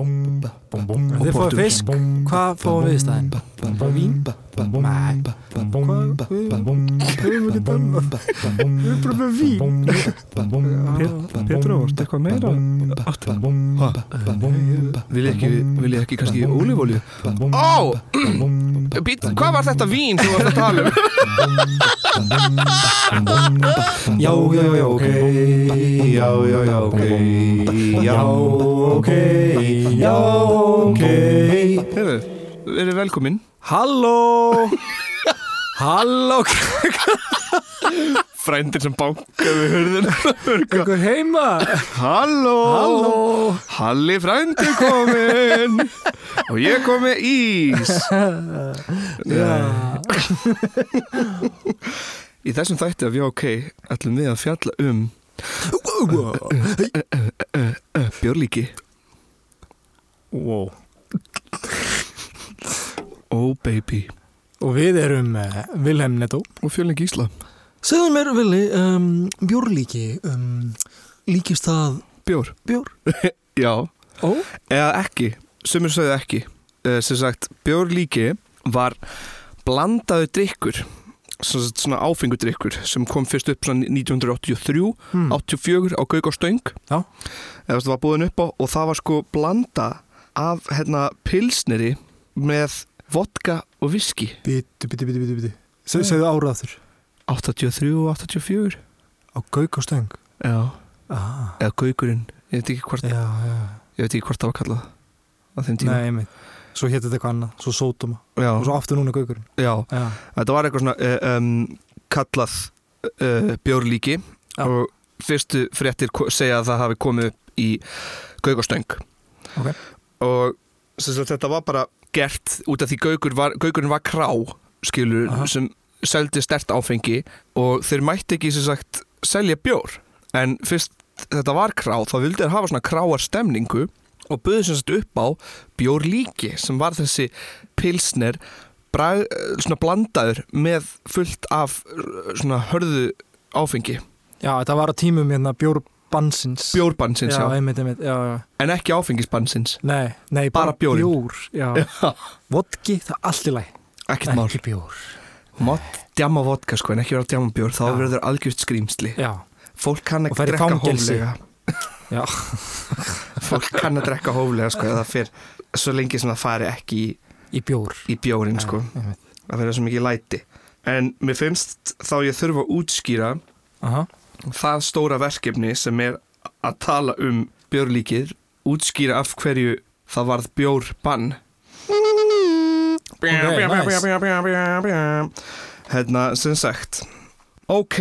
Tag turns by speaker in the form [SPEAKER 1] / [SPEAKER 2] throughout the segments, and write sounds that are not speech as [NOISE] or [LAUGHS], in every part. [SPEAKER 1] Þið fáið fisk, hvað fáum við í staðinn? Bara vín? Nei. Hvað? Við höfum ekki dæma. Við erum bara með vín.
[SPEAKER 2] Pétur, varstu eitthvað meira?
[SPEAKER 1] Áttu.
[SPEAKER 3] Vil ég ekki, vil ég ekki kannski ólífólju?
[SPEAKER 4] Ó, Být, hvað var þetta vín sem þú varst að tala um?
[SPEAKER 2] Já, já, já, ok Já, já, já, ok Já, ok Já, ok
[SPEAKER 3] Hefur, verið velkominn
[SPEAKER 2] Halló Halló,
[SPEAKER 3] Frændir sem bankaði við
[SPEAKER 2] [LAUGHS]
[SPEAKER 3] hurðin
[SPEAKER 2] einhver heima
[SPEAKER 3] Halló
[SPEAKER 2] Halló
[SPEAKER 3] Halli frændi kominn [LAUGHS] Og ég kom með ís
[SPEAKER 2] [LAUGHS]
[SPEAKER 3] Eh,
[SPEAKER 2] Já,
[SPEAKER 3] Í þessum þætti af Já ok ætlum við að fjalla um eh, Björlíki
[SPEAKER 2] wow
[SPEAKER 3] Oh baby
[SPEAKER 2] Og við erum uh, Vilhelm Netto
[SPEAKER 3] Og fjölning Ísla
[SPEAKER 1] Segðu mér, Vili, um, bjórlíki, um, líkist það
[SPEAKER 3] Bjór
[SPEAKER 1] bjór?
[SPEAKER 3] Já
[SPEAKER 2] Ó,
[SPEAKER 3] eða ekki, sumur sögðu ekki Eh, sem sagt, bjórlíki var blandaðu drikkur sem sagt svona áfengu drikkur sem kom fyrst upp svona 1983
[SPEAKER 2] hmm.
[SPEAKER 3] 84 á Gauk og Stöng
[SPEAKER 2] Já.
[SPEAKER 3] eða það var búin upp á og það var sko blanda af hérna pilsneri með vodka og viski
[SPEAKER 2] Bítu, bítu, bítu, bítu, bítu Se, Segðu ára aftur
[SPEAKER 3] 83 og 84
[SPEAKER 2] Á gauk og stöng
[SPEAKER 3] Já.
[SPEAKER 2] ah,
[SPEAKER 3] eða Gaukurinn, ég veit ekki hvort,
[SPEAKER 2] Já, já
[SPEAKER 3] ég veit ekki hvort það var kallað á þeim tíma
[SPEAKER 2] Nei, einmitt Svo hétt þetta eitthvað annað Svo sótuma
[SPEAKER 3] Já,
[SPEAKER 2] Og svo aftur núna gaukurinn
[SPEAKER 3] já,
[SPEAKER 2] Já,
[SPEAKER 3] þetta var eitthvað svona eh, um, kallað uh, bjórlíki
[SPEAKER 2] Já.
[SPEAKER 3] og fyrstu fréttir ko- segja að það hafi komið upp í Gaugostöng
[SPEAKER 2] Ok.
[SPEAKER 3] og sem sagt, þetta var bara gert út af því Gaugur var, Gaugurinn var krá skilur
[SPEAKER 2] Aha.
[SPEAKER 3] sem seldi stert áfengi og þeir mætti ekki sem sagt selja bjór en fyrst þetta var krá þá vildi þeir hafa svona kráar stemningu og buðu sem sagt upp á bjórlíki sem var þessi pilsner brag, eh, svona blandaður með fullt af eh, svona hörðu áfengi
[SPEAKER 2] já þetta var á tímum hérna bjórbansins
[SPEAKER 3] bjórbansins
[SPEAKER 2] Já,
[SPEAKER 3] já,
[SPEAKER 2] einmitt, einmitt Já, já
[SPEAKER 3] en ekki áfengisbansins
[SPEAKER 2] Nei, nei,
[SPEAKER 3] Bara bjórinn.
[SPEAKER 2] bjór, já. Vodki, það er allt í læg
[SPEAKER 3] ekkert mál
[SPEAKER 2] Ekki bjór
[SPEAKER 3] Mátt djama vodka sko en ekki vera að djama bjór þá
[SPEAKER 2] Já.
[SPEAKER 3] verður algjört skrýmsli
[SPEAKER 2] Já,
[SPEAKER 3] fólk kann
[SPEAKER 2] Og
[SPEAKER 3] að
[SPEAKER 2] fer í
[SPEAKER 3] drekka
[SPEAKER 2] fangelsi.
[SPEAKER 3] hóflega
[SPEAKER 2] Já.
[SPEAKER 3] fólk kann að drekka hóflega sko eða fyrr svo lengi sem það fari ekki í,
[SPEAKER 2] í bjór
[SPEAKER 3] í bjórin sko
[SPEAKER 2] Já, einmitt.
[SPEAKER 3] að vera svo mikið læti en mér finnst þá ég þurfa að útskýra
[SPEAKER 2] Aha.
[SPEAKER 3] það stóra verkefni sem er að tala um björlíkið útskýra af hverju það varð bjórbann hérna sem sagt ok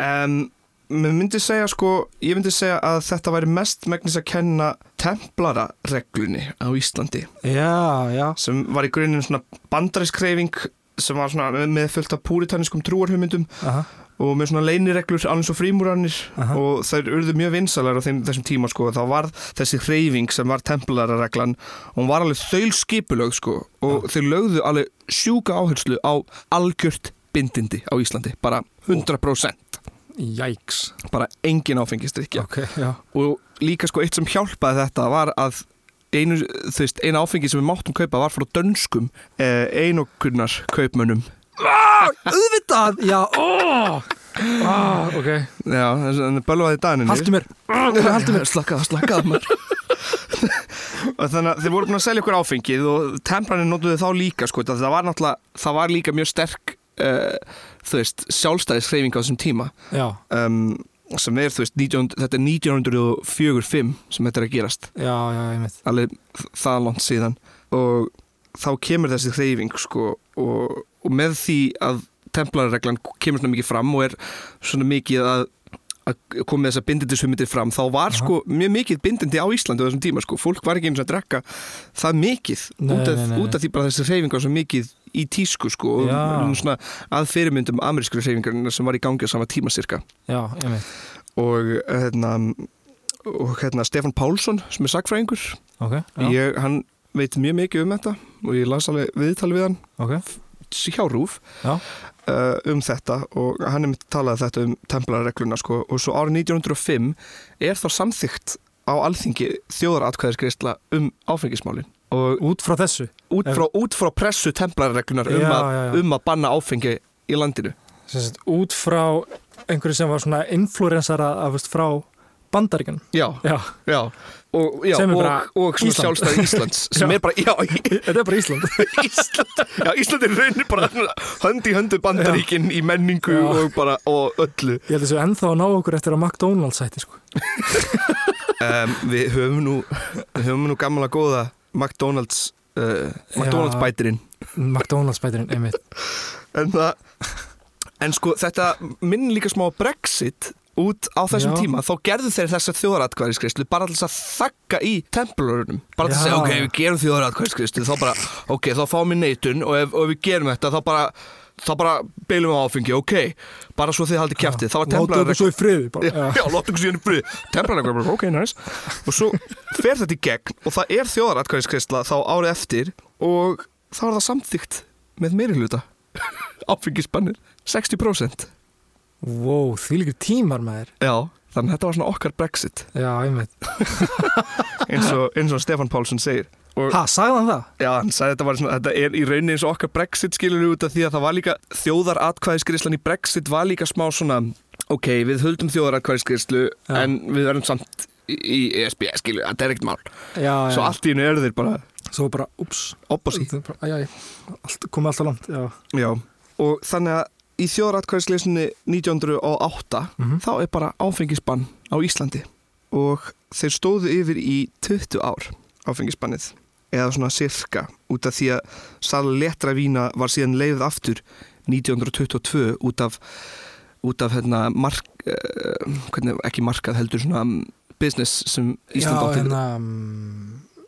[SPEAKER 3] um, mér myndi segja sko ég myndi segja að þetta væri mest megnis að kenna templarareglunni á Íslandi
[SPEAKER 2] Já, já
[SPEAKER 3] sem var í grunnum svona bandariskreyfing sem var svona með fullt af púritaniskum trúarhumyndum
[SPEAKER 2] Aha.
[SPEAKER 3] og með svona leinireglur alveg og frímúranir
[SPEAKER 2] Aha.
[SPEAKER 3] og þær urðu mjög vinsalar á þeim, þessum tíma sko þá var þessi hreyfing sem var templarareglan og hún var alveg þaulskipulög sko og þeir lögðu alveg sjúka áherslu á algjört bindindi á Íslandi, bara 100%
[SPEAKER 2] Jæks
[SPEAKER 3] bara engin áfengistrykja
[SPEAKER 2] Ok, já
[SPEAKER 3] og líka sko eitt sem hjálpaði þetta var að einu, þú veist, eina áfengi sem við máttum kaupa var frá dönskum eh, einokunnar kaupmönnum
[SPEAKER 2] Ah, Auðvitað, já, ó ah, Ok
[SPEAKER 3] já, þannig bölvaði daninni
[SPEAKER 2] Haltu mér
[SPEAKER 3] haltu mér slakkaða, slakkaða mér og þannig að þeir voru búin að selja okkur áfengið og tempranin notuðu þá líka sko, það var náttúrulega, það var líka mjög sterk uh, þú veist, sjálfstæðishreyfing á þessum tíma
[SPEAKER 2] Já,
[SPEAKER 3] um, sem er, þú veist, 19, þetta er 1945 sem þetta er að gerast
[SPEAKER 2] já, já, einmitt
[SPEAKER 3] alveg það langt síðan og þá kemur þessi hreyfing sko og, og með því að templarareglan kemur svona mikið fram og er svona mikið að að koma með þessa bindindishumindir fram þá var
[SPEAKER 2] Aha.
[SPEAKER 3] sko mjög mikið bindindi á Íslandi á þessum tíma sko, fólk var ekki eins og að drekka það mikið,
[SPEAKER 2] Nei,
[SPEAKER 3] út, af,
[SPEAKER 2] nei, nei,
[SPEAKER 3] út af því bara þessi hreyfing var svo mikið í tísku sko og
[SPEAKER 2] Já.
[SPEAKER 3] nú svona að fyrirmyndum amerískur hreyfingarna sem var í gangi á sama tíma cirka
[SPEAKER 2] Já, einmitt
[SPEAKER 3] og hérna og hérna Stefan Pálsson sem er sagfræðingur
[SPEAKER 2] Ok, já,
[SPEAKER 3] ég, hann veit mjög mikið um þetta og ég las alveg viðtal við hann
[SPEAKER 2] ok
[SPEAKER 3] hjá Rúf
[SPEAKER 2] Já.
[SPEAKER 3] uh, um þetta og hann er mitt talaði þetta um templararegluna sko og svo árið 1905 er þá samþygt á alþingi þjóðaratkvæðisgreisla um áfengismálin og
[SPEAKER 1] Út frá þessu
[SPEAKER 3] út frá, út frá pressu templareglunar um,
[SPEAKER 1] Já,
[SPEAKER 3] að-
[SPEAKER 1] já, já.
[SPEAKER 3] um að banna áfengi í landinu
[SPEAKER 1] sem sagt, Út frá einhverju sem var svona influensara af, veist, frá bandaríkan
[SPEAKER 3] já,
[SPEAKER 1] Já,
[SPEAKER 3] já, og, já,
[SPEAKER 1] Sem er
[SPEAKER 3] og,
[SPEAKER 1] bara
[SPEAKER 3] og svona
[SPEAKER 1] Ísland. [LAUGHS]
[SPEAKER 3] sjálfstæði Íslands sem
[SPEAKER 1] Já.
[SPEAKER 3] er bara, já,
[SPEAKER 1] [LAUGHS] þetta er bara Ísland
[SPEAKER 3] Ísland Já, Ísland er raunir bara [LAUGHS] hönd í höndu bandaríkin í menningu
[SPEAKER 1] Já.
[SPEAKER 3] og bara og öllu
[SPEAKER 1] Ég held þessu ennþá að ná okkur eftir að McDonalds hætti sko.
[SPEAKER 3] um, Við höfum nú, við höfum nú gamla góða McDonalds uh, McDonalds
[SPEAKER 1] Já.
[SPEAKER 3] bætirinn
[SPEAKER 1] McDonalds bætirinn, einmitt
[SPEAKER 3] en, það, en sko þetta minn líka smá á Brexit út á þessum
[SPEAKER 1] Já.
[SPEAKER 3] tíma, þá gerðu þeir þessa þjóðaratkvæðiskreislu bara til þess að þakka í templurunum, bara til að
[SPEAKER 1] Já.
[SPEAKER 3] segja ok, við gerum þjóðaratkvæðiskreislu, þá bara ok, þá fáum við neitun og ef, og ef við gerum þetta þá bara, þá bara beilum við á áfengi ok, bara svo þið haldið kæftið þá var
[SPEAKER 1] Láta okkur
[SPEAKER 3] templurunum
[SPEAKER 1] svo í friði bara.
[SPEAKER 3] Já, já, látum við síðan í frið Tempralega, bara, ok, nice Og svo fer þetta í gegn og það er þjóðaratkvæðiskreisla þá árið eftir og þá er það samþygt með meiri [LAUGHS] hluta Áfengisbannir 60%
[SPEAKER 1] Wow, því líka tímar maður
[SPEAKER 3] Já, þannig að þetta var svona okkar Brexit
[SPEAKER 1] Já, einmitt
[SPEAKER 3] eins og, eins og Stefan Pálsson segir Og-
[SPEAKER 1] Ha, sagði hann það?
[SPEAKER 3] Já, hann sagði þetta var svona, þetta er í rauninni eins og okkar Brexit skilur við út af því að það var líka þjóðaratkvæðiskrislan í Brexit var líka smá svona, ok, við höldum þjóðaratkvæðiskrislu
[SPEAKER 1] Já.
[SPEAKER 3] en við verðum samt í í E ESB, skilur, þetta er ekkert mál
[SPEAKER 1] Já,
[SPEAKER 3] Svo
[SPEAKER 1] já.
[SPEAKER 3] allt í hennu eru þeir bara
[SPEAKER 1] Svo bara, ups
[SPEAKER 3] opposít
[SPEAKER 1] Æjæj, komið alltaf langt Já,
[SPEAKER 3] Já, og þannig að í þjóðratkvæðislesinni 1908
[SPEAKER 1] Mhm.
[SPEAKER 3] þá er bara áfengisbann á Íslandi og þeir stóðu yfir í 20 ár áfengisbannið eða svona sirka út af því að sala letra vína var síðan leiðið aftur 1922 út af út af hérna mark, uh, hvernig, ekki markað heldur svona mm, business sem Ísland
[SPEAKER 1] Já,
[SPEAKER 3] átti
[SPEAKER 1] hérna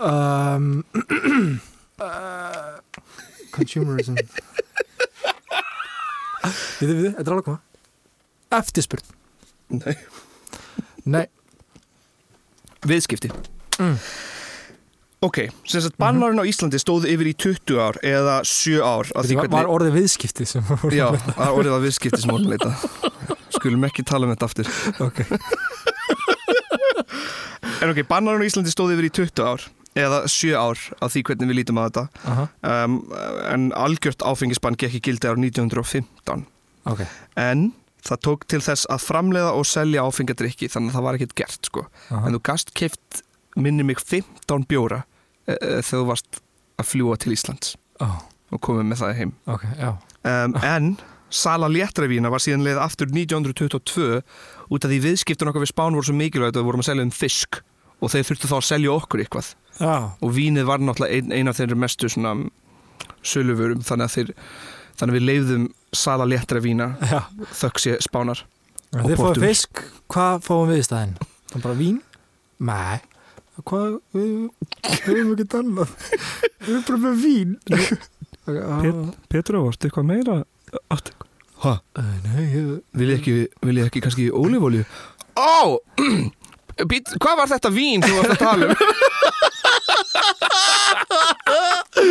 [SPEAKER 1] um, um, uh, Consumerism Við við, þetta er alveg að koma Eftirspurn hérna.
[SPEAKER 3] Nei.
[SPEAKER 1] Nei,
[SPEAKER 3] Viðskipti
[SPEAKER 1] Mm.
[SPEAKER 3] Ok, sem sagt bannarin á Íslandi stóðu yfir í 20 ár eða 7 ár að því
[SPEAKER 1] þetta var, var
[SPEAKER 3] hvernig
[SPEAKER 1] orðið viðskipti sem voru
[SPEAKER 3] Já, það orðið var viðskipti sem vorum að leita Skulum ekki tala um þetta aftur
[SPEAKER 1] Ok.
[SPEAKER 3] En ok, bannarin á Íslandi stóðu yfir í 20 ár eða 7 ár að því hvernig við lítum að þetta
[SPEAKER 1] Aha,
[SPEAKER 3] um, En algjört áfengisbann gekk í gildi ár 1915
[SPEAKER 1] Ok,
[SPEAKER 3] En það tók til þess að framleiða og selja áfengadrykki þannig að það var ekkert gert sko
[SPEAKER 1] aha,
[SPEAKER 3] en þú gast keift minni mig 15 bjóra e, e, þegar þú varst að fljúa til Íslands
[SPEAKER 1] ó,
[SPEAKER 3] og komið með það heim
[SPEAKER 1] ok, já
[SPEAKER 3] um, en sala léttravína var síðan leið aftur 1922 út af því viðskiptun okkar við Spán voru svo mikilvægt að við vorum að selja um fisk og þeir þurftu þá að selja okkur eitthvað
[SPEAKER 1] Já,
[SPEAKER 3] og vínið var náttúrulega ein, ein af þeirra mestu svona um, söluvörum þannig að, þeir, þannig að við leiðum sala léttravína
[SPEAKER 1] já
[SPEAKER 3] þökk sé Spánar
[SPEAKER 1] Og
[SPEAKER 3] Og
[SPEAKER 1] Þið fáið
[SPEAKER 3] Portúgal.
[SPEAKER 1] fisk, hvað fáum við í staðinn? Það er bara vín? Nei Hvað, við við höfum ekki annað Við erum bara með vín
[SPEAKER 2] Pét- Petra, varstu eitthvað meira? Áttu
[SPEAKER 3] Hæ?
[SPEAKER 1] Æ, Nei, ég
[SPEAKER 3] Vil ég ekki, vil ég ekki kannski ólífólju? Ó, [CLEARS THROAT] být, hvað var þetta vín sem þú varst að tala um?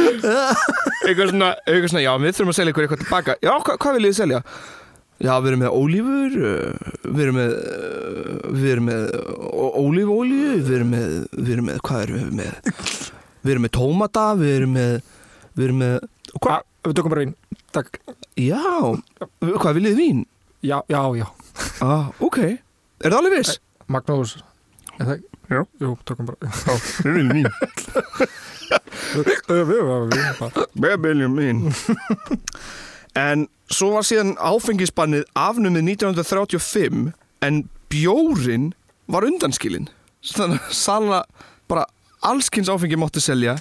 [SPEAKER 3] eitthvað svona, eitthvað svona, já, við þurfum að selja ykkur eitthvað tilbaka. Já, hva, hvað viljið þið selja? Já, við erum með ólífur, uh, við erum með, uh, við erum með ó- ólífólju, við erum með, við erum með, hvað erum við með? Við erum með tómata, við erum með, við erum með, Ah.
[SPEAKER 1] Hva? Við tökum bara vín Takk
[SPEAKER 3] já, hvað viljið þið vín?
[SPEAKER 1] Já, já, já
[SPEAKER 3] Ah, ok, er það alveg viss?
[SPEAKER 1] Magnús Er það ekki?
[SPEAKER 3] Já.
[SPEAKER 1] Jú, tökum bara
[SPEAKER 3] Við viljum mín
[SPEAKER 1] Við höfum vín bara
[SPEAKER 3] Við viljum mín En svo var síðan áfengisbannið afnumið 1935 En bjórin var undanskilin Þannig að sala bara allskins áfengi mátti selja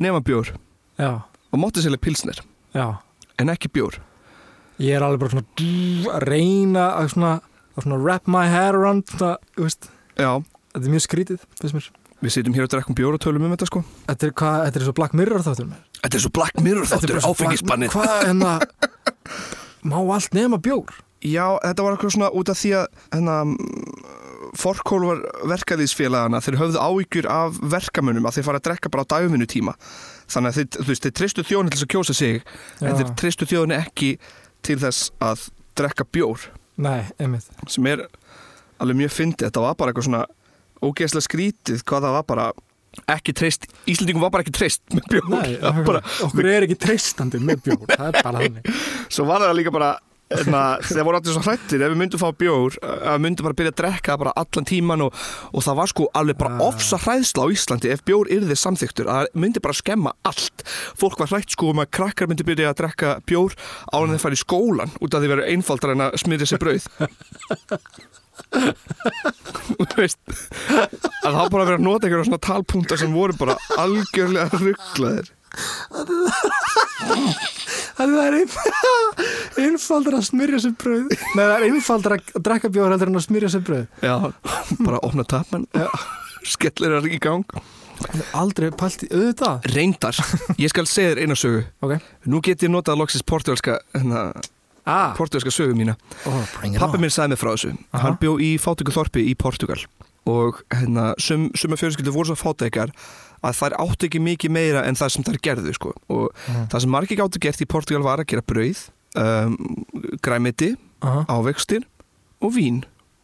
[SPEAKER 3] Nema bjór
[SPEAKER 1] Já,
[SPEAKER 3] Og mátti selja pilsner
[SPEAKER 1] já
[SPEAKER 3] En ekki bjór
[SPEAKER 1] Ég er alveg bara svona að reyna að svona að svona wrap my head around þetta, þú veist
[SPEAKER 3] Já,
[SPEAKER 1] Þetta er mjög skrítið, finnst mér
[SPEAKER 3] við sitjum hér og drekkum bjór og tölum um þetta sko
[SPEAKER 1] Þetta er hvað, þetta er svo Black Mirror þáttur mér
[SPEAKER 3] Þetta er svo Black Mirror þáttur, áfengisbannið
[SPEAKER 1] Hvað, hérna Má allt nema bjór
[SPEAKER 3] Já, þetta var eitthvað svona út af því að hérna, mm, hennar, forkólvar verkaðísfélagana þeir höfðu áhyggjur af verkamönnum að þeir fara að drekka bara á dagvinnu tíma þannig að þeir, þú veist, þeir tristu þjóðin til þess að kjósa sig
[SPEAKER 1] Já.
[SPEAKER 3] en þeir tristu þjóðin ekki til þess að drekka bjór
[SPEAKER 1] Nei, einmitt
[SPEAKER 3] sem er alveg mjög fyndið, þetta var bara eitthvað svona ógeðslega skrítið hvað það var bara ekki treyst, Íslendingum var bara ekki treyst með bjór,
[SPEAKER 1] Nei,
[SPEAKER 3] Það var bara,
[SPEAKER 1] okkur er ekki treystandi með bjór, það er bara þannig.
[SPEAKER 3] svo var það líka bara hérna, þeir voru allir svo hrættir ef við myndum fá bjór, að við myndum bara byrja að drekka það bara allan tíman og, og það var sko alveg bara
[SPEAKER 1] Ah.
[SPEAKER 3] ofsa hræðsla á Íslandi ef bjór yrði samþyktur, að það myndi bara skemma allt, fólk var hrætt sko um að krakkar myndi byrja að drekka bjór án að þeir fara í skólan út af því verður einfaldar en að smyrja sér brauð [LAUGHS] Þú veist að það var bara að vera að nota einhverja svona talpunta sem voru bara algjörlega rugglaðir
[SPEAKER 1] Það er ein- [LAUGHS] einfaldara að smyrja sér bröð. Nei, það er einfaldara að drekka bjór heldur en að smyrja sér bröð.
[SPEAKER 3] Já, [LAUGHS] bara opna tapmann [LAUGHS] Skellir það í gang
[SPEAKER 1] Það er aldrei pælt í auðvitað.
[SPEAKER 3] Reyndar, ég skal segja þér eina sögu
[SPEAKER 1] Ok.
[SPEAKER 3] Nú get ég notað loksins portugalska hérna,
[SPEAKER 1] Ah,
[SPEAKER 3] portugalska sögu mína
[SPEAKER 1] oh, bring it
[SPEAKER 3] Pappi
[SPEAKER 1] on.
[SPEAKER 3] minn sagði mér frá þessu
[SPEAKER 1] Aha.
[SPEAKER 3] Hann bjó í fátöku þorpi í Portugal Og hérna, sum, suma fjörskildu voru svo fátökar að þær áttu ekki mikið meira en það sem þær gerðu sko. og
[SPEAKER 1] Mhm.
[SPEAKER 3] það sem margir gáttu gert í Portugal var að gera brauð um, græmiti,
[SPEAKER 1] Aha.
[SPEAKER 3] ávextir og vín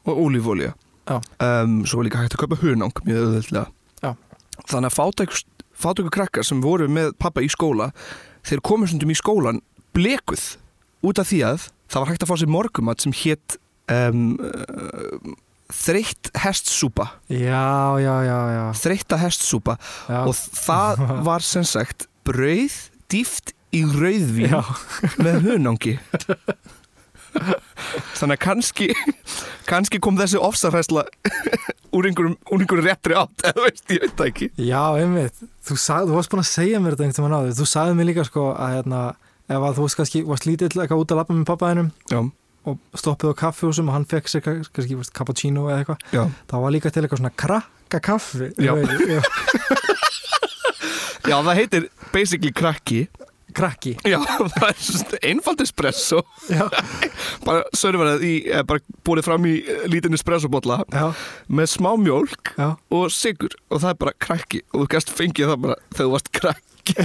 [SPEAKER 3] og ólífólja
[SPEAKER 1] Já.
[SPEAKER 3] um, svo var líka hægt að kaupa hunang mjög
[SPEAKER 1] Já.
[SPEAKER 3] auðvöldlega þannig að fátæku krakkar sem voru með pappa í skóla þeir komið stundum í skólan blekuð út af því að það var hægt að fá sér morgumat sem hétt um, uh, þreytt hestsúpa
[SPEAKER 1] Já, já, já, já.
[SPEAKER 3] þreytta hestsúpa
[SPEAKER 1] já.
[SPEAKER 3] og það
[SPEAKER 1] [LAUGHS]
[SPEAKER 3] var sem sagt brauð dýft í rauðvín
[SPEAKER 1] Já,
[SPEAKER 3] með hunangi þannig að kannski kannski kom þessi ofsarhæsla úr einhverjum, úr einhverjum réttri átt eða veist, ég veit það ekki
[SPEAKER 1] já, einmitt. Þú, sag, þú varst búin að segja mér þetta einhvern tímann áður. Þú sagði mér líka sko að hérna, ef að þú varst kannski, varst lítill eitthvað út að lappa með pappaðinum
[SPEAKER 3] já,
[SPEAKER 1] og stoppið á kaffihúsum og hann fekk sér ka- kannski varst, cappuccino eða eitthvað,
[SPEAKER 3] já.
[SPEAKER 1] þá var líka til eitthvað svona krakka kaffi.
[SPEAKER 3] Já.
[SPEAKER 1] já.
[SPEAKER 3] já, það heitir basically krakki
[SPEAKER 1] Krakki.
[SPEAKER 3] já, [LAUGHS] það er einfald espresso
[SPEAKER 1] Já,
[SPEAKER 3] bara sörfarað í, eða bara búið fram í eh, lítinn espressobotla
[SPEAKER 1] já,
[SPEAKER 3] með smá mjólk
[SPEAKER 1] já.
[SPEAKER 3] og sigur og það er bara krakki og þú gæst fengið það bara þegar þú varst krakki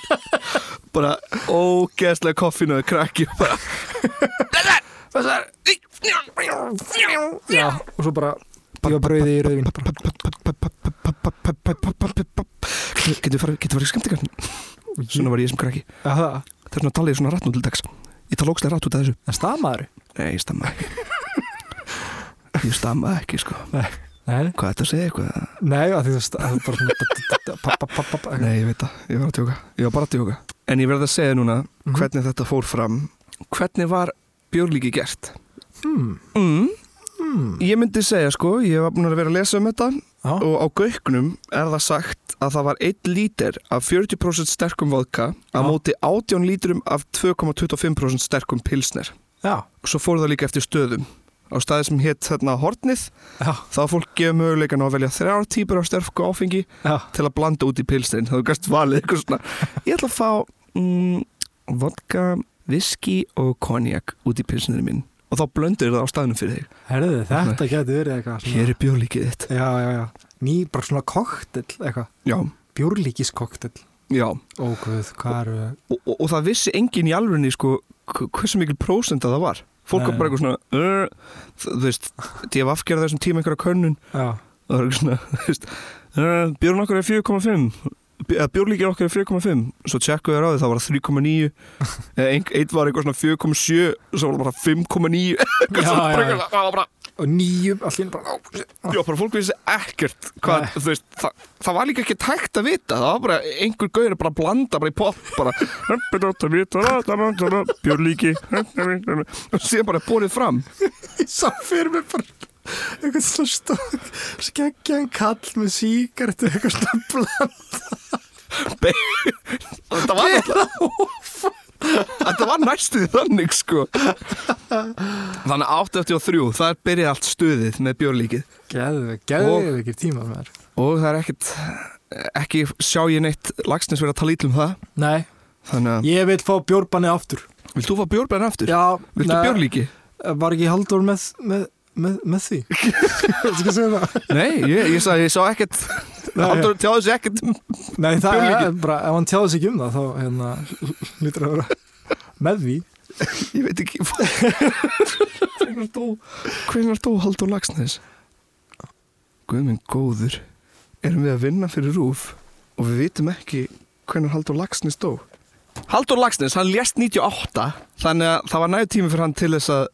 [SPEAKER 3] [LAUGHS] bara ógeðslega koffinu krakki og bara
[SPEAKER 1] Þessar Já, og svo bara Ég var brauðið í rauðvin
[SPEAKER 3] Getur farið, getur farið í skemmtikarn Svona var ég sem krakki
[SPEAKER 1] Já, það
[SPEAKER 3] Þess vegna tala ég svona rætt nú til dags Ég tala ógstlega rætt út af þessu
[SPEAKER 1] En stamaður
[SPEAKER 3] Nei, ég stamma ekki Ég stamma ekki, sko
[SPEAKER 1] Nei,
[SPEAKER 3] Hvað er þetta að segja eitthvað?
[SPEAKER 1] nei, að því þú sta- það er bara svona d- d- d- papp, papp, papp, papp.
[SPEAKER 3] Nei, ég veit það, ég var að tjóka Ég var bara að tjóka En ég verð að segja núna
[SPEAKER 1] Mhm.
[SPEAKER 3] hvernig þetta fór fram Hvernig var björlíki gert?
[SPEAKER 1] Hmm,
[SPEAKER 3] Mm,
[SPEAKER 1] hmm.
[SPEAKER 3] ég myndi segja, sko, ég var búin að vera að lesa um þetta
[SPEAKER 1] Já,
[SPEAKER 3] og á gaugnum er það sagt að það var 1 lítir af 40% sterkum vodka
[SPEAKER 1] Já.
[SPEAKER 3] að móti 18 lítrum af 2,25% sterkum pilsner
[SPEAKER 1] já,
[SPEAKER 3] og svo fór það líka eftir stöðum á staði sem hétt þarna hornið
[SPEAKER 1] já,
[SPEAKER 3] þá var fólk gefið möguleikan á að velja þrjár típur af sterku áfengi
[SPEAKER 1] já
[SPEAKER 3] til að blanda út í pilsnerin þá þú gæst valið eitthvað svona ég ætla að fá mm, vodka, viski og konjak út í pilsnerin minn og þá blöndur það á staðnum fyrir þig
[SPEAKER 1] Herðu, þetta getur verið eitthvað svona-
[SPEAKER 3] hér er bjórlíkið þitt
[SPEAKER 1] Já, já, já Ný, bara svona koktel, eitthvað
[SPEAKER 3] já,
[SPEAKER 1] Bjórlíkiskoktel
[SPEAKER 3] já
[SPEAKER 1] Ó, guð, hvað eru
[SPEAKER 3] og, og, og það vissi enginn í alvegni sko, h- hversu mikil prósenda það var fólk var
[SPEAKER 1] Nei.
[SPEAKER 3] bara eitthvað svona "Ur", þú þú veist, DFF gerði þessum tíma einhverja könnun
[SPEAKER 1] Já,
[SPEAKER 3] það var eitthvað svona [LAUGHS] þú veist, "Uh, bjórn okkar er 4,5 b- eða bjórlíkir okkar er 4,5 svo tjekkuðu þér á því það var 3,9 eða ein- einn var eitthvað svona 4,7 svo var það bara 5,9
[SPEAKER 1] Já,
[SPEAKER 3] eitthvað svona,
[SPEAKER 1] já,
[SPEAKER 3] bara
[SPEAKER 1] já.
[SPEAKER 3] eitthvað, það var bara,
[SPEAKER 1] og nýjum, allir bara
[SPEAKER 3] [LAUGHS] já, bara fólk vissi ekkert hvað, þú veist, það, það var líka ekki tækt að vita, það var bara einhver gauður bara að blanda bara í pop bara bjórlíki [LAUGHS] og síðan bara borið fram
[SPEAKER 1] Ég sá fyrir mig bara einhvern svona stók skeggjan kall með síkart eitthvað svona bland
[SPEAKER 3] þetta var náttúrulega- þetta var næstuð þannig sko þannig að 83 það er byrjað allt stuðið með bjórlíkið
[SPEAKER 1] Geðu, geðu ekki tíma með þér
[SPEAKER 3] og það er ekkert ekki sjá ég neitt lagsnes verið að tala ítlum það
[SPEAKER 1] Nei,
[SPEAKER 3] þannig að,
[SPEAKER 1] ég vil fá bjórbanni aftur
[SPEAKER 3] vilt þú fá bjórbæðin aftur?
[SPEAKER 1] Já,
[SPEAKER 3] Viltu bjórlíki?
[SPEAKER 1] Var ekki Halldór með, með, með, með
[SPEAKER 3] [LAUGHS]
[SPEAKER 1] því? Ég skal segja það
[SPEAKER 3] Nei, ég, ég, sá, ég sá ekkert
[SPEAKER 1] Nei.
[SPEAKER 3] Haldur tjáði sér ekkert
[SPEAKER 1] Nei, það
[SPEAKER 3] Bjórlíki.
[SPEAKER 1] er bara, ef hann tjáði sig ekki um það þá hérna, lítur að vera með því
[SPEAKER 3] Ég veit ekki Hvernig dó Hvernig dó Haldur Lagsnes? Guðminn góður, erum við að vinna fyrir rúf og við vitum ekki hvernig Haldur Lagsnes dó. Haldur Lagsnes, hann lést 98, þannig að það var næðu tími fyrir hann til þess að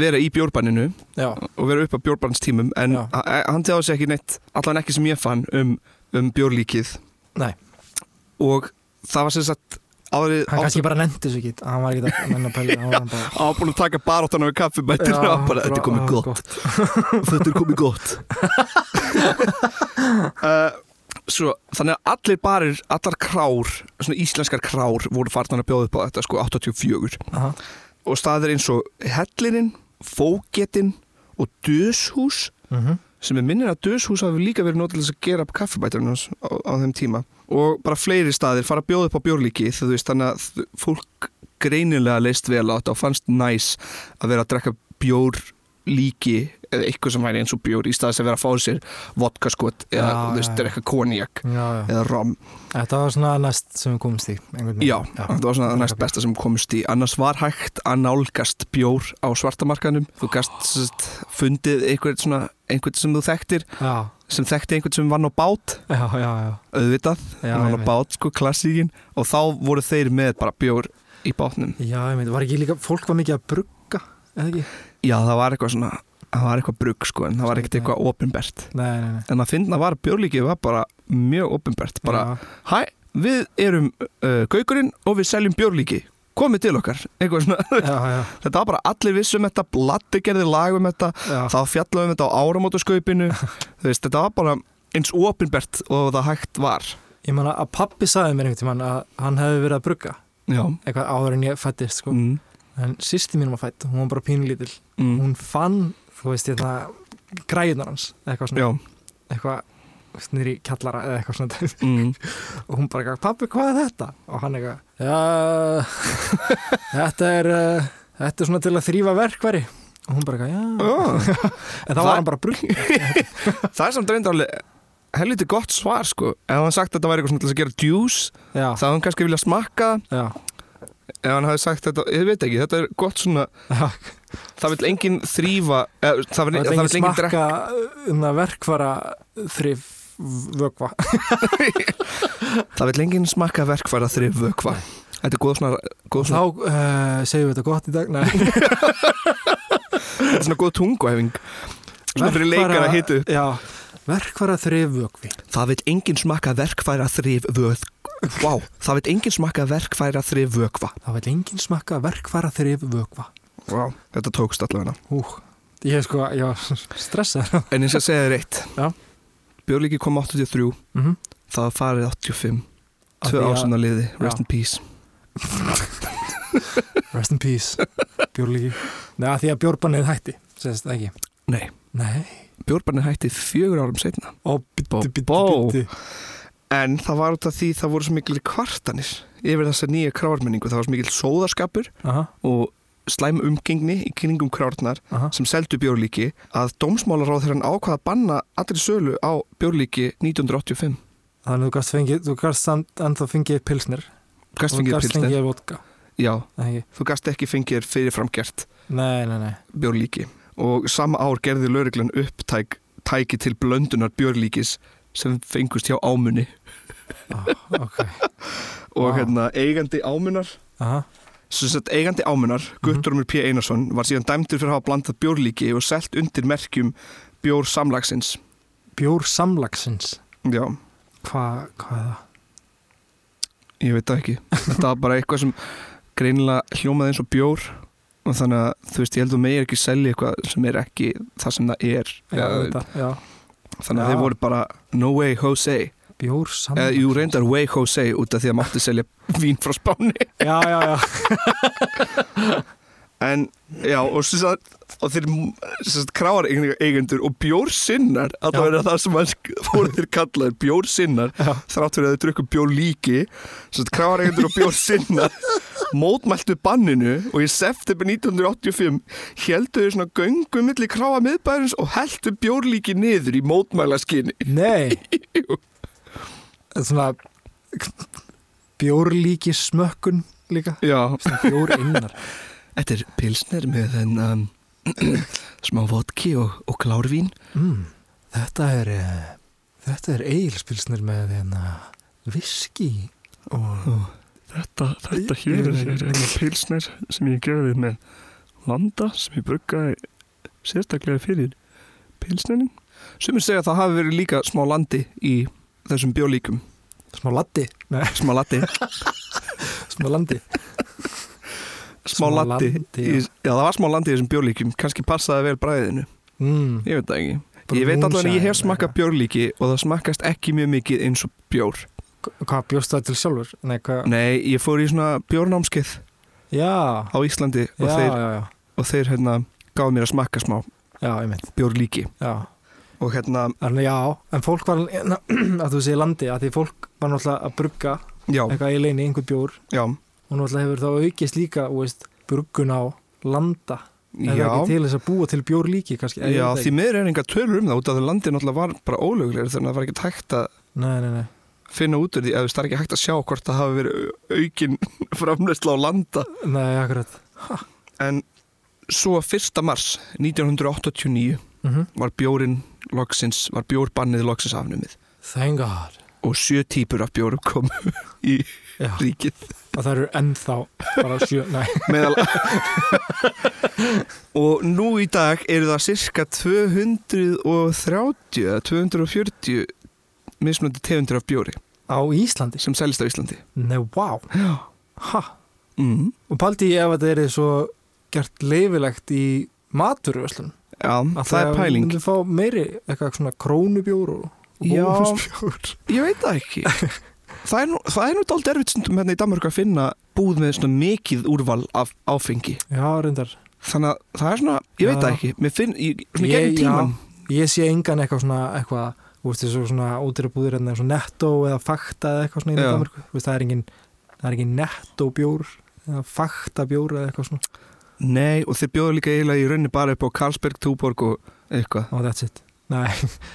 [SPEAKER 3] vera í bjórbanninu
[SPEAKER 1] Já,
[SPEAKER 3] og vera upp á bjórbannstímum en
[SPEAKER 1] Já.
[SPEAKER 3] h- hann tjáði sér ekki neitt, allan ekki sem ég fann um, um bjórlíkið
[SPEAKER 1] Nei.
[SPEAKER 3] og það var sem sagt árið
[SPEAKER 1] hann kannski bara nefndi þessu ekki Hann var ekki að menna pæli Hann var bara
[SPEAKER 3] ábúin að taka baróttana við kaffibættir
[SPEAKER 1] Já,
[SPEAKER 3] og bara, [LAUGHS] þetta er komið
[SPEAKER 1] já,
[SPEAKER 3] gott þetta er komið gott uh, Svo, þannig að allir barir, allar krár svona íslenskar krár voru farnar að bjóða upp á þetta sko 84
[SPEAKER 1] Aha.
[SPEAKER 3] og staðir eins og Hellinin Fógetin og Döshús
[SPEAKER 1] Mhm.
[SPEAKER 3] sem er minnir að Döshús hafi líka verið notilegs að gera upp kaffibæturinn hans á, á þeim tíma og bara fleiri staðir fara að bjóða upp á bjórlíki þegar þú veist þannig að þ- fólk greinilega leist vel á þetta og fannst næs að vera að drekka bjórlíki eða eitthvað sem væri eins og bjór í staðis að vera að fá sér vodkaskot eða
[SPEAKER 1] Já,
[SPEAKER 3] þú veist,
[SPEAKER 1] já, já.
[SPEAKER 3] drekka konjak
[SPEAKER 1] Já, já.
[SPEAKER 3] eða rom
[SPEAKER 1] Þetta var svona næst sem við komumst í einhvern veginn.
[SPEAKER 3] Já, þetta var svona það næst besta sem komist í annars var hægt að nálgast bjór á svartamarkanum þú gast sem sagt, fundið einhvern, svona, einhvern sem þú þekktir
[SPEAKER 1] Já,
[SPEAKER 3] sem þekkti einhvern sem vann á bát
[SPEAKER 1] já, já, já.
[SPEAKER 3] auðvitað,
[SPEAKER 1] Já,
[SPEAKER 3] hann vann á
[SPEAKER 1] einmitt.
[SPEAKER 3] bát sko, klassíkin og þá voru þeir með bara bjór í bátnum
[SPEAKER 1] Já, ég meint, var ekki líka, fólk var mikið að brugga, eða ekki?
[SPEAKER 3] Já, það var eitthvað svona, það var eitthvað brugg sko, en það var ekkert eitthvað opinbert
[SPEAKER 1] Nei, nei, nei.
[SPEAKER 3] en að finna var bjórlíkið var bara mjög opinbert,
[SPEAKER 1] Já,
[SPEAKER 3] bara hæ, við erum uh, gaukurinn og við seljum bjórlíki komið til okkar, [LAUGHS] eitthvað svona
[SPEAKER 1] já, já.
[SPEAKER 3] Þetta var bara allir vissum um þetta, Blatti gerði lag um þetta,
[SPEAKER 1] já.
[SPEAKER 3] þá fjallaði um þetta á áramótaskaupinu,
[SPEAKER 1] [LAUGHS]
[SPEAKER 3] þú veist, þetta var bara eins óopinbert og það hægt var.
[SPEAKER 1] Ég man að pappi sagði mér einhvern tímann að hann hefði verið að brugga
[SPEAKER 3] Já.
[SPEAKER 1] eitthvað áður en ég fættist, sko.
[SPEAKER 3] Mm.
[SPEAKER 1] En sýsti mín var fætt, hún var bara pínlítil.
[SPEAKER 3] Mm.
[SPEAKER 1] Hún fann, þú veist, þetta græðunar hans, eitthvað svona,
[SPEAKER 3] Já.
[SPEAKER 1] eitthvað þú veist, niður í kjallara eða eitthvað svona [LAUGHS] dæmi.
[SPEAKER 3] Mm.
[SPEAKER 1] og hún bara, pappi, hvað er þetta? Og hann eitthvað, já, [LAUGHS] þetta er, uh, þetta er svona til að þrýfa verkveri. Og hún bara, já,
[SPEAKER 3] Oh.
[SPEAKER 1] En þá
[SPEAKER 3] Það-
[SPEAKER 1] var hann bara brugg
[SPEAKER 3] [LAUGHS] það er samt reyndar alveg helviti gott svar sko. Ef hann sagt að þetta væri eitthvað svona til að gera juice,
[SPEAKER 1] Já,
[SPEAKER 3] þá hefði hann kannski vilja smakka. það.
[SPEAKER 1] já,
[SPEAKER 3] Ef hann hefði sagt þetta, ég veit ekki, þetta er gott svona,
[SPEAKER 1] já.
[SPEAKER 3] það vil enginn þrýfa, eða, það vil
[SPEAKER 1] Það er
[SPEAKER 3] enginn
[SPEAKER 1] engin
[SPEAKER 3] engin drekka.
[SPEAKER 1] smakka um það verkvara þrif vögva
[SPEAKER 3] Það vil enginn smakka verkfæra þrýf vökva. Þetta er góð svona, góð
[SPEAKER 1] Þá
[SPEAKER 3] svona,
[SPEAKER 1] uh, segjum við þetta gott í dag
[SPEAKER 3] [LAUGHS]
[SPEAKER 1] Nei,
[SPEAKER 3] þetta er svona góð tunguhefing. Svona fyrir leikar að hitu
[SPEAKER 1] Já, verkvara þrif vögvi
[SPEAKER 3] Það veit enginn smakka verkfæra þrif vöð Vá, það veit enginn smakka verkfæra þrif vökva
[SPEAKER 1] Það vil engin smakka verkvara þrif vögva
[SPEAKER 3] Vá, þetta tókst allavega
[SPEAKER 1] Ú, ég hef sko, [LAUGHS] já, stressað
[SPEAKER 3] En eins og segja þér eitt
[SPEAKER 1] Já.
[SPEAKER 3] Björlíki kom 83,
[SPEAKER 1] mm -hmm.
[SPEAKER 3] það var farið 85
[SPEAKER 1] Af
[SPEAKER 3] Tvö
[SPEAKER 1] því að-
[SPEAKER 3] ásinn að liði, rest
[SPEAKER 1] Já.
[SPEAKER 3] in peace
[SPEAKER 1] Rest in peace, bjórlíki Nei, að því að bjórbannið hætti, segist það ekki
[SPEAKER 3] Nei,
[SPEAKER 1] Nei,
[SPEAKER 3] Björbarni hætti fjögur árum setna
[SPEAKER 1] og
[SPEAKER 3] Bó,
[SPEAKER 1] byttu,
[SPEAKER 3] bó.
[SPEAKER 1] byttu, byttu
[SPEAKER 3] En það var út af því það voru svo mikil kvartanir Yfir þessa nýja kráarmenningu Það var svo mikil sóðarskapur
[SPEAKER 1] Aha,
[SPEAKER 3] og slæm umgengni í kringum krárnar
[SPEAKER 1] aha
[SPEAKER 3] sem seldu bjórlíki að dómsmálaráð þegar hann ákvaða að banna allir sölu á bjórlíki 1985
[SPEAKER 1] Þannig að þú gast fengið, þú gast samt ennþá fengið pilsnir
[SPEAKER 3] gast
[SPEAKER 1] Og þú
[SPEAKER 3] fengið
[SPEAKER 1] gast
[SPEAKER 3] pilsnir
[SPEAKER 1] fengið vodka
[SPEAKER 3] já,
[SPEAKER 1] Nei, ekki.
[SPEAKER 3] þú gast ekki fengið fyrirframgert
[SPEAKER 1] nei, nei, nei.
[SPEAKER 3] bjórlíki og sama ár gerði lauruglan upptæk tæki til blöndunar bjórlíkis sem fengust hjá ámunni
[SPEAKER 1] Ah, ok
[SPEAKER 3] og
[SPEAKER 1] Vá.
[SPEAKER 3] hérna eigandi ámunar
[SPEAKER 1] Aha.
[SPEAKER 3] sem sett eigandi ámunar,
[SPEAKER 1] Mhm.
[SPEAKER 3] Guttormur P. Einarsson var síðan dæmdur fyrir að hafa blandað bjórlíki og selt undir merkjum bjór samlagsins
[SPEAKER 1] Bjór samlagsins
[SPEAKER 3] já,
[SPEAKER 1] Hva, Hvað er það?
[SPEAKER 3] Ég veit það ekki Þetta var bara eitthvað sem greinilega hljómaði eins og bjór og þannig að þú veist, ég held að megir ekki selja eitthvað sem er ekki það sem það er
[SPEAKER 1] Já,
[SPEAKER 3] Eða,
[SPEAKER 1] þetta, já.
[SPEAKER 3] þannig að
[SPEAKER 1] Já.
[SPEAKER 3] þeir voru bara no way Jose
[SPEAKER 1] Bjór samlagsins
[SPEAKER 3] eða jú reyndar way Jose út af því að mátti selja [LAUGHS] vín frá Spáni
[SPEAKER 1] Já, já,
[SPEAKER 3] [LAUGHS]
[SPEAKER 1] já
[SPEAKER 3] en já, og, sem sagt, og þeir sérst, kráar eigendur og bjórsinnar að það
[SPEAKER 1] Já.
[SPEAKER 3] vera það sem að voru þeir kallaðir bjórsinnar
[SPEAKER 1] Já.
[SPEAKER 3] þrátt fyrir að þeir drukku bjór líki kráar eigendur og bjórsinnar mótmæltu banninu og í september 1985 heldu þau svona göngum milli kráa miðbæðurins og heldu bjórlíki niður í mótmælaskinni
[SPEAKER 1] Nei Þetta er Svona Bjórlíki smökkun líka
[SPEAKER 3] Já,
[SPEAKER 1] Svona Bjór innar
[SPEAKER 3] þetta er um, [CLEARS THROAT] pilsner með þennan smá vodki og, og klárvín
[SPEAKER 1] mm. Þetta er, eh, þetta er eilspilsnir með hérna viski og
[SPEAKER 3] Mm.
[SPEAKER 5] Þetta, þetta hér er, er einu pilsner sem ég gerði með landa sem ég bruggaði sérstaklega fyrir pilsnerin.
[SPEAKER 3] Sumir segja að það hafi verið líka smá landi í þessum bjólíkum.
[SPEAKER 1] smá laddi,
[SPEAKER 3] Smá
[SPEAKER 5] [LAUGHS]
[SPEAKER 3] landi.
[SPEAKER 1] [LAUGHS] smá landi.
[SPEAKER 3] Smá landi. Í,
[SPEAKER 1] já.
[SPEAKER 3] já, það var smá landi í þessum bjólíkum. Kanski passaði vel bræðinu.
[SPEAKER 1] Mm,
[SPEAKER 3] Ég veit það ekki.
[SPEAKER 1] Bara
[SPEAKER 3] ég veit alveg að ég
[SPEAKER 1] moonshine
[SPEAKER 3] hef smakkað
[SPEAKER 1] eða
[SPEAKER 3] bjórlíki og það smakkast ekki mjög mikið eins og bjór.
[SPEAKER 1] eitthvað. Hvað bjóst það til sjálfur? Nei, hvað?
[SPEAKER 3] Nei, ég fór í svona bjórnámskeið
[SPEAKER 1] Já,
[SPEAKER 3] á Íslandi og
[SPEAKER 1] já,
[SPEAKER 3] þeir,
[SPEAKER 1] já, já,
[SPEAKER 3] og þeir hérna, gáðu mér að smakka smá
[SPEAKER 1] já, einmitt,
[SPEAKER 3] bjórlíki.
[SPEAKER 1] já.
[SPEAKER 3] Og hérna,
[SPEAKER 1] Þannig já, en fólk var, [CLEARS THROAT] na, að þú segir landi, að því fólk var náttúrulega að brugga
[SPEAKER 3] já,
[SPEAKER 1] eitthvað í leini, einhver bjór
[SPEAKER 3] já,
[SPEAKER 1] og náttúrulega hefur þá aukist líka, þú veist, bruggun á landa. Er það ekki
[SPEAKER 3] já.
[SPEAKER 1] til þess að búa til bjór líki, kannski? Ég
[SPEAKER 3] Já,
[SPEAKER 1] veit
[SPEAKER 3] því miður er enga tölur um það út af því landið náttúrulega var bara ólöglegir þannig að það var ekki hægt að
[SPEAKER 1] ekki. Nei, nei, nei.
[SPEAKER 3] finna út úr því eða það er ekki hægt að sjá hvort það hafi verið au- aukin [LAUGHS] framleysla á landa
[SPEAKER 1] Nei, akkurat.
[SPEAKER 3] en svo 1. mars 1989
[SPEAKER 1] Mm
[SPEAKER 3] var bjórin loksins, var bjórbannið loksins afnumið
[SPEAKER 1] Thank God.
[SPEAKER 3] og sjö típur af bjórum kom [LAUGHS] í
[SPEAKER 1] Já,
[SPEAKER 3] ríkið
[SPEAKER 1] og það eru ennþá bara sjö, [LAUGHS] nei,
[SPEAKER 3] meðal og nú í dag eru það cirka 230 eða 240 mismunandi tegundir af bjóri
[SPEAKER 1] á Íslandi.
[SPEAKER 3] sem selist á Íslandi
[SPEAKER 1] Nei, wow.
[SPEAKER 3] Já.
[SPEAKER 1] Ha,
[SPEAKER 3] mm.
[SPEAKER 1] og paldi ég ef þetta er svo gert leifilegt í maturvöslun.
[SPEAKER 3] Já, það er pæling
[SPEAKER 1] Þú fá meiri eitthvað svona krónubjór og og
[SPEAKER 3] Já.
[SPEAKER 1] bónusbjór.
[SPEAKER 3] Ég veit það ekki Það er nú, það er nú dálítið erfitt stundum hérna í Danmark að finna búð með svona mikið úrval af áfengi
[SPEAKER 1] Já, reyndar.
[SPEAKER 3] Þannig að það er svona, ég veit það
[SPEAKER 1] Já.
[SPEAKER 3] ekki Mér finn, ég, svona
[SPEAKER 1] Ég-
[SPEAKER 3] gegn tíman
[SPEAKER 1] Ég sé engan eitthvað svona, eitthvað, þú veist, þessu svona útirabúðir hérna eins og netto eða fakta eða eitthvað svona í
[SPEAKER 3] Já.
[SPEAKER 1] Danmarku. Þú veist, það er engin, það er engin netto bjór eða fakta bjór eða eitthvað svona.
[SPEAKER 3] Nei, og þeir bjóðu líka eiginlega í rauninni bara upp á Karlsberg, Túborg og eitthvað
[SPEAKER 1] Og that's it. Nei,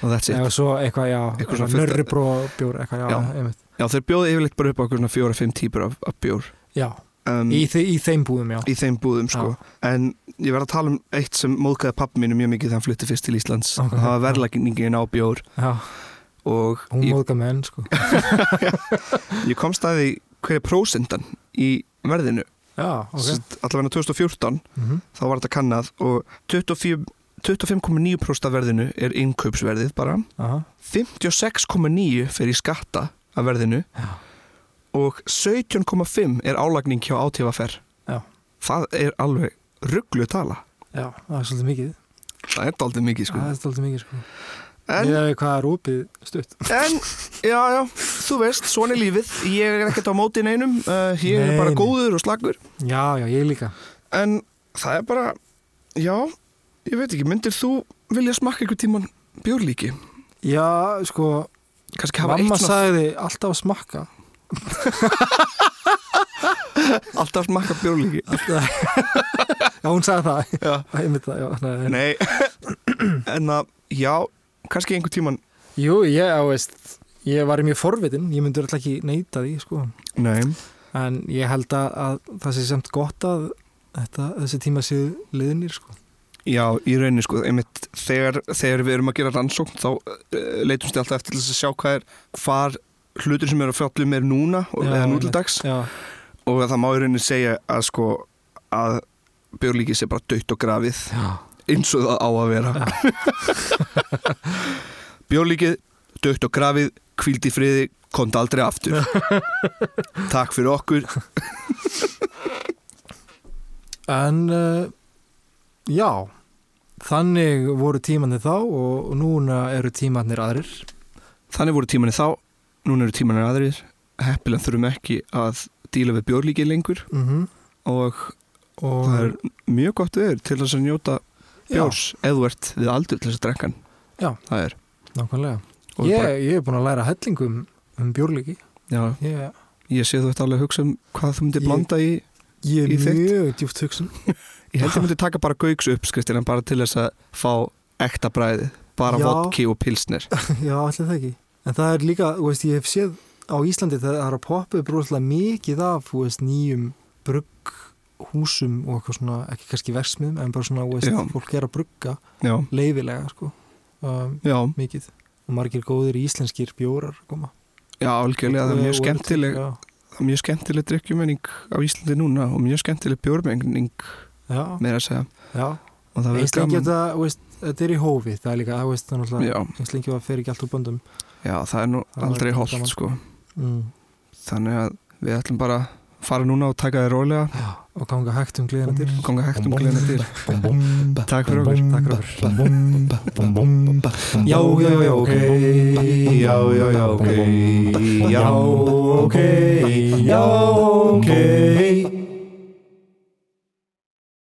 [SPEAKER 3] og that's it
[SPEAKER 1] eða svo eitthvað, já,
[SPEAKER 3] Eitthvað
[SPEAKER 1] eitthvað
[SPEAKER 3] svona fullt-
[SPEAKER 1] nörribró bjór, eitthvað, já,
[SPEAKER 3] Já.
[SPEAKER 1] einmitt.
[SPEAKER 3] Já, þeir bjóðu yfirleitt bara upp á okkur svona fjóra-fimm típur af, af bjór
[SPEAKER 1] Já,
[SPEAKER 3] um,
[SPEAKER 1] í,
[SPEAKER 3] í,
[SPEAKER 1] þe í þeim búðum, já.
[SPEAKER 3] þeim búðum sko En ég verð að tala um eitt sem móðgæði pappi mínu mjög mikið þegar hann flutti fyrst til Íslands
[SPEAKER 1] Ok.
[SPEAKER 3] Það var verðlækningin á bjór
[SPEAKER 1] Já,
[SPEAKER 3] og
[SPEAKER 1] hún
[SPEAKER 3] ég,
[SPEAKER 1] móðga með henn, sko.
[SPEAKER 3] ég komst að því hverja prósendan í verðinu
[SPEAKER 1] Já, ok.
[SPEAKER 3] okay. allavega 2014
[SPEAKER 1] Mm
[SPEAKER 3] þá var þetta kannað og 25 25,9% af verðinu er innkaupsverðið bara,
[SPEAKER 1] Aha,
[SPEAKER 3] 56,9% fer í skatta af verðinu
[SPEAKER 1] Já.
[SPEAKER 3] og 17,5% er álagning hjá átífafer
[SPEAKER 1] Já.
[SPEAKER 3] það er alveg rugglu tala
[SPEAKER 1] já, það er svolítið mikið.
[SPEAKER 3] það er daldið mikið sko
[SPEAKER 1] Það er svolítið mikið, sko. En,
[SPEAKER 3] en,
[SPEAKER 1] Ég veit hvað er opið stutt.
[SPEAKER 3] en, já, já, þú veist, svona er lífið ég er ekkert á móti neinum uh, ég
[SPEAKER 1] Nei,
[SPEAKER 3] er bara
[SPEAKER 1] nei.
[SPEAKER 3] góður og slagur
[SPEAKER 1] Já, já, ég líka.
[SPEAKER 3] en það er bara, já ég veit ekki, myndir þú vilja smakka einhver tíman bjórlíki?
[SPEAKER 1] Já, sko,
[SPEAKER 3] kannski hafa
[SPEAKER 1] Mamma
[SPEAKER 3] eitt svona
[SPEAKER 1] sagði alltaf að smakka
[SPEAKER 3] alltaf smakka bjórlíki
[SPEAKER 1] Já, hún sagði það [LAUGHS]
[SPEAKER 3] Já.
[SPEAKER 1] Ég myndi það, já [LAUGHS] nei, nei.
[SPEAKER 3] nei, [CLEARS THROAT] en að já, kannski einhver tíman
[SPEAKER 1] Jú, ég, á veist Ég var mjög forvitin, ég myndi alltaf ekki neyta því sko.
[SPEAKER 3] nei,
[SPEAKER 1] En ég held að, að það sé semt gott að þetta, þessi tíma séu liðnir sko.
[SPEAKER 3] já, í rauninni sko einmitt, þegar, þegar við erum að gera rannsókn þá uh, leitumst við alltaf eftir til þess að sjá hvað er hvar hlutur sem eru að fjallu meir núna og,
[SPEAKER 1] Já,
[SPEAKER 3] eða
[SPEAKER 1] einmitt.
[SPEAKER 3] nútildags
[SPEAKER 1] Já,
[SPEAKER 3] og það má í rauninni segja að sko að bjórlíki sé bara dött og grafið
[SPEAKER 1] já,
[SPEAKER 3] eins og það á að vera [LAUGHS] Bjórlíkið, dögt og grafið hvíldi í friði, komd aldrei
[SPEAKER 1] [LAUGHS]
[SPEAKER 3] aftur Takk fyrir okkur
[SPEAKER 1] En uh, já Þannig voru tímanir þá og núna eru tímanir aðrir
[SPEAKER 3] Þannig voru tímanir þá, núna eru tímanir aðrir Heppilega þurfum ekki að díla við bjórlíkið lengur
[SPEAKER 1] mm
[SPEAKER 3] og
[SPEAKER 1] og,
[SPEAKER 3] það er mjög gott veður til þess að njóta
[SPEAKER 1] Já.
[SPEAKER 3] bjórs eðvert við aldur til þess að drekkan
[SPEAKER 1] Já.
[SPEAKER 3] Það er
[SPEAKER 1] Nákvæmlega
[SPEAKER 3] Og
[SPEAKER 1] ég,
[SPEAKER 3] bara-
[SPEAKER 1] ég er búin að læra hellingum um bjórleiki
[SPEAKER 3] Já,
[SPEAKER 1] Ég
[SPEAKER 3] ég sé þú þetta alveg að hugsa um hvað þú myndir
[SPEAKER 1] Ég-
[SPEAKER 3] blanda í
[SPEAKER 1] Ég er
[SPEAKER 3] Í þitt?
[SPEAKER 1] mjög djúft hugsun [LAUGHS]
[SPEAKER 3] Ég held að ég myndi taka bara gauks upp skriftina bara til þess að fá ekta bræði bara
[SPEAKER 1] Já.
[SPEAKER 3] vodki og pilsnir
[SPEAKER 1] Já, allir það ekki En það er líka, þú veist, ég hef séð á Íslandi það er að poppa upp rosalega mikið af þú veist, nýjum brugghúsum og eitthvað svona, ekki kannski versmiðum en bara svona, þú veist,
[SPEAKER 3] Já.
[SPEAKER 1] fólk er að brugga
[SPEAKER 3] Já,
[SPEAKER 1] leifilega, sko um,
[SPEAKER 3] já,
[SPEAKER 1] mikið og margir góðir íslenskir bjórar koma
[SPEAKER 3] já, algjörlega, það er mjög
[SPEAKER 1] Og- og-
[SPEAKER 3] skemmtileg
[SPEAKER 1] já,
[SPEAKER 3] það er mjög skemmtileg drikkjumenning á Íslandi núna og mjög skemmtileg bjórmenning
[SPEAKER 1] já,
[SPEAKER 3] meira að segja
[SPEAKER 1] já
[SPEAKER 3] og það verður
[SPEAKER 1] einslengi
[SPEAKER 3] gaman
[SPEAKER 1] þetta, veist, þetta er í hófi það er líka, það veist, það er náttúrulega
[SPEAKER 3] já,
[SPEAKER 1] einslengi að fer ekki allt úr böndum
[SPEAKER 3] já, það er nú
[SPEAKER 1] Það er
[SPEAKER 3] aldrei
[SPEAKER 1] gaman.
[SPEAKER 3] holdt sko
[SPEAKER 1] mm.
[SPEAKER 3] þannig að við ætlum bara að fara núna og taka þér rólega
[SPEAKER 1] já, og ganga hægt um gleðina til
[SPEAKER 3] konga hægt um gleðina til Takk fyrir okkur.
[SPEAKER 1] Takk fyrir okkur.
[SPEAKER 2] Já, já, já, ok Já, já, já, ok Já, ok Já, ok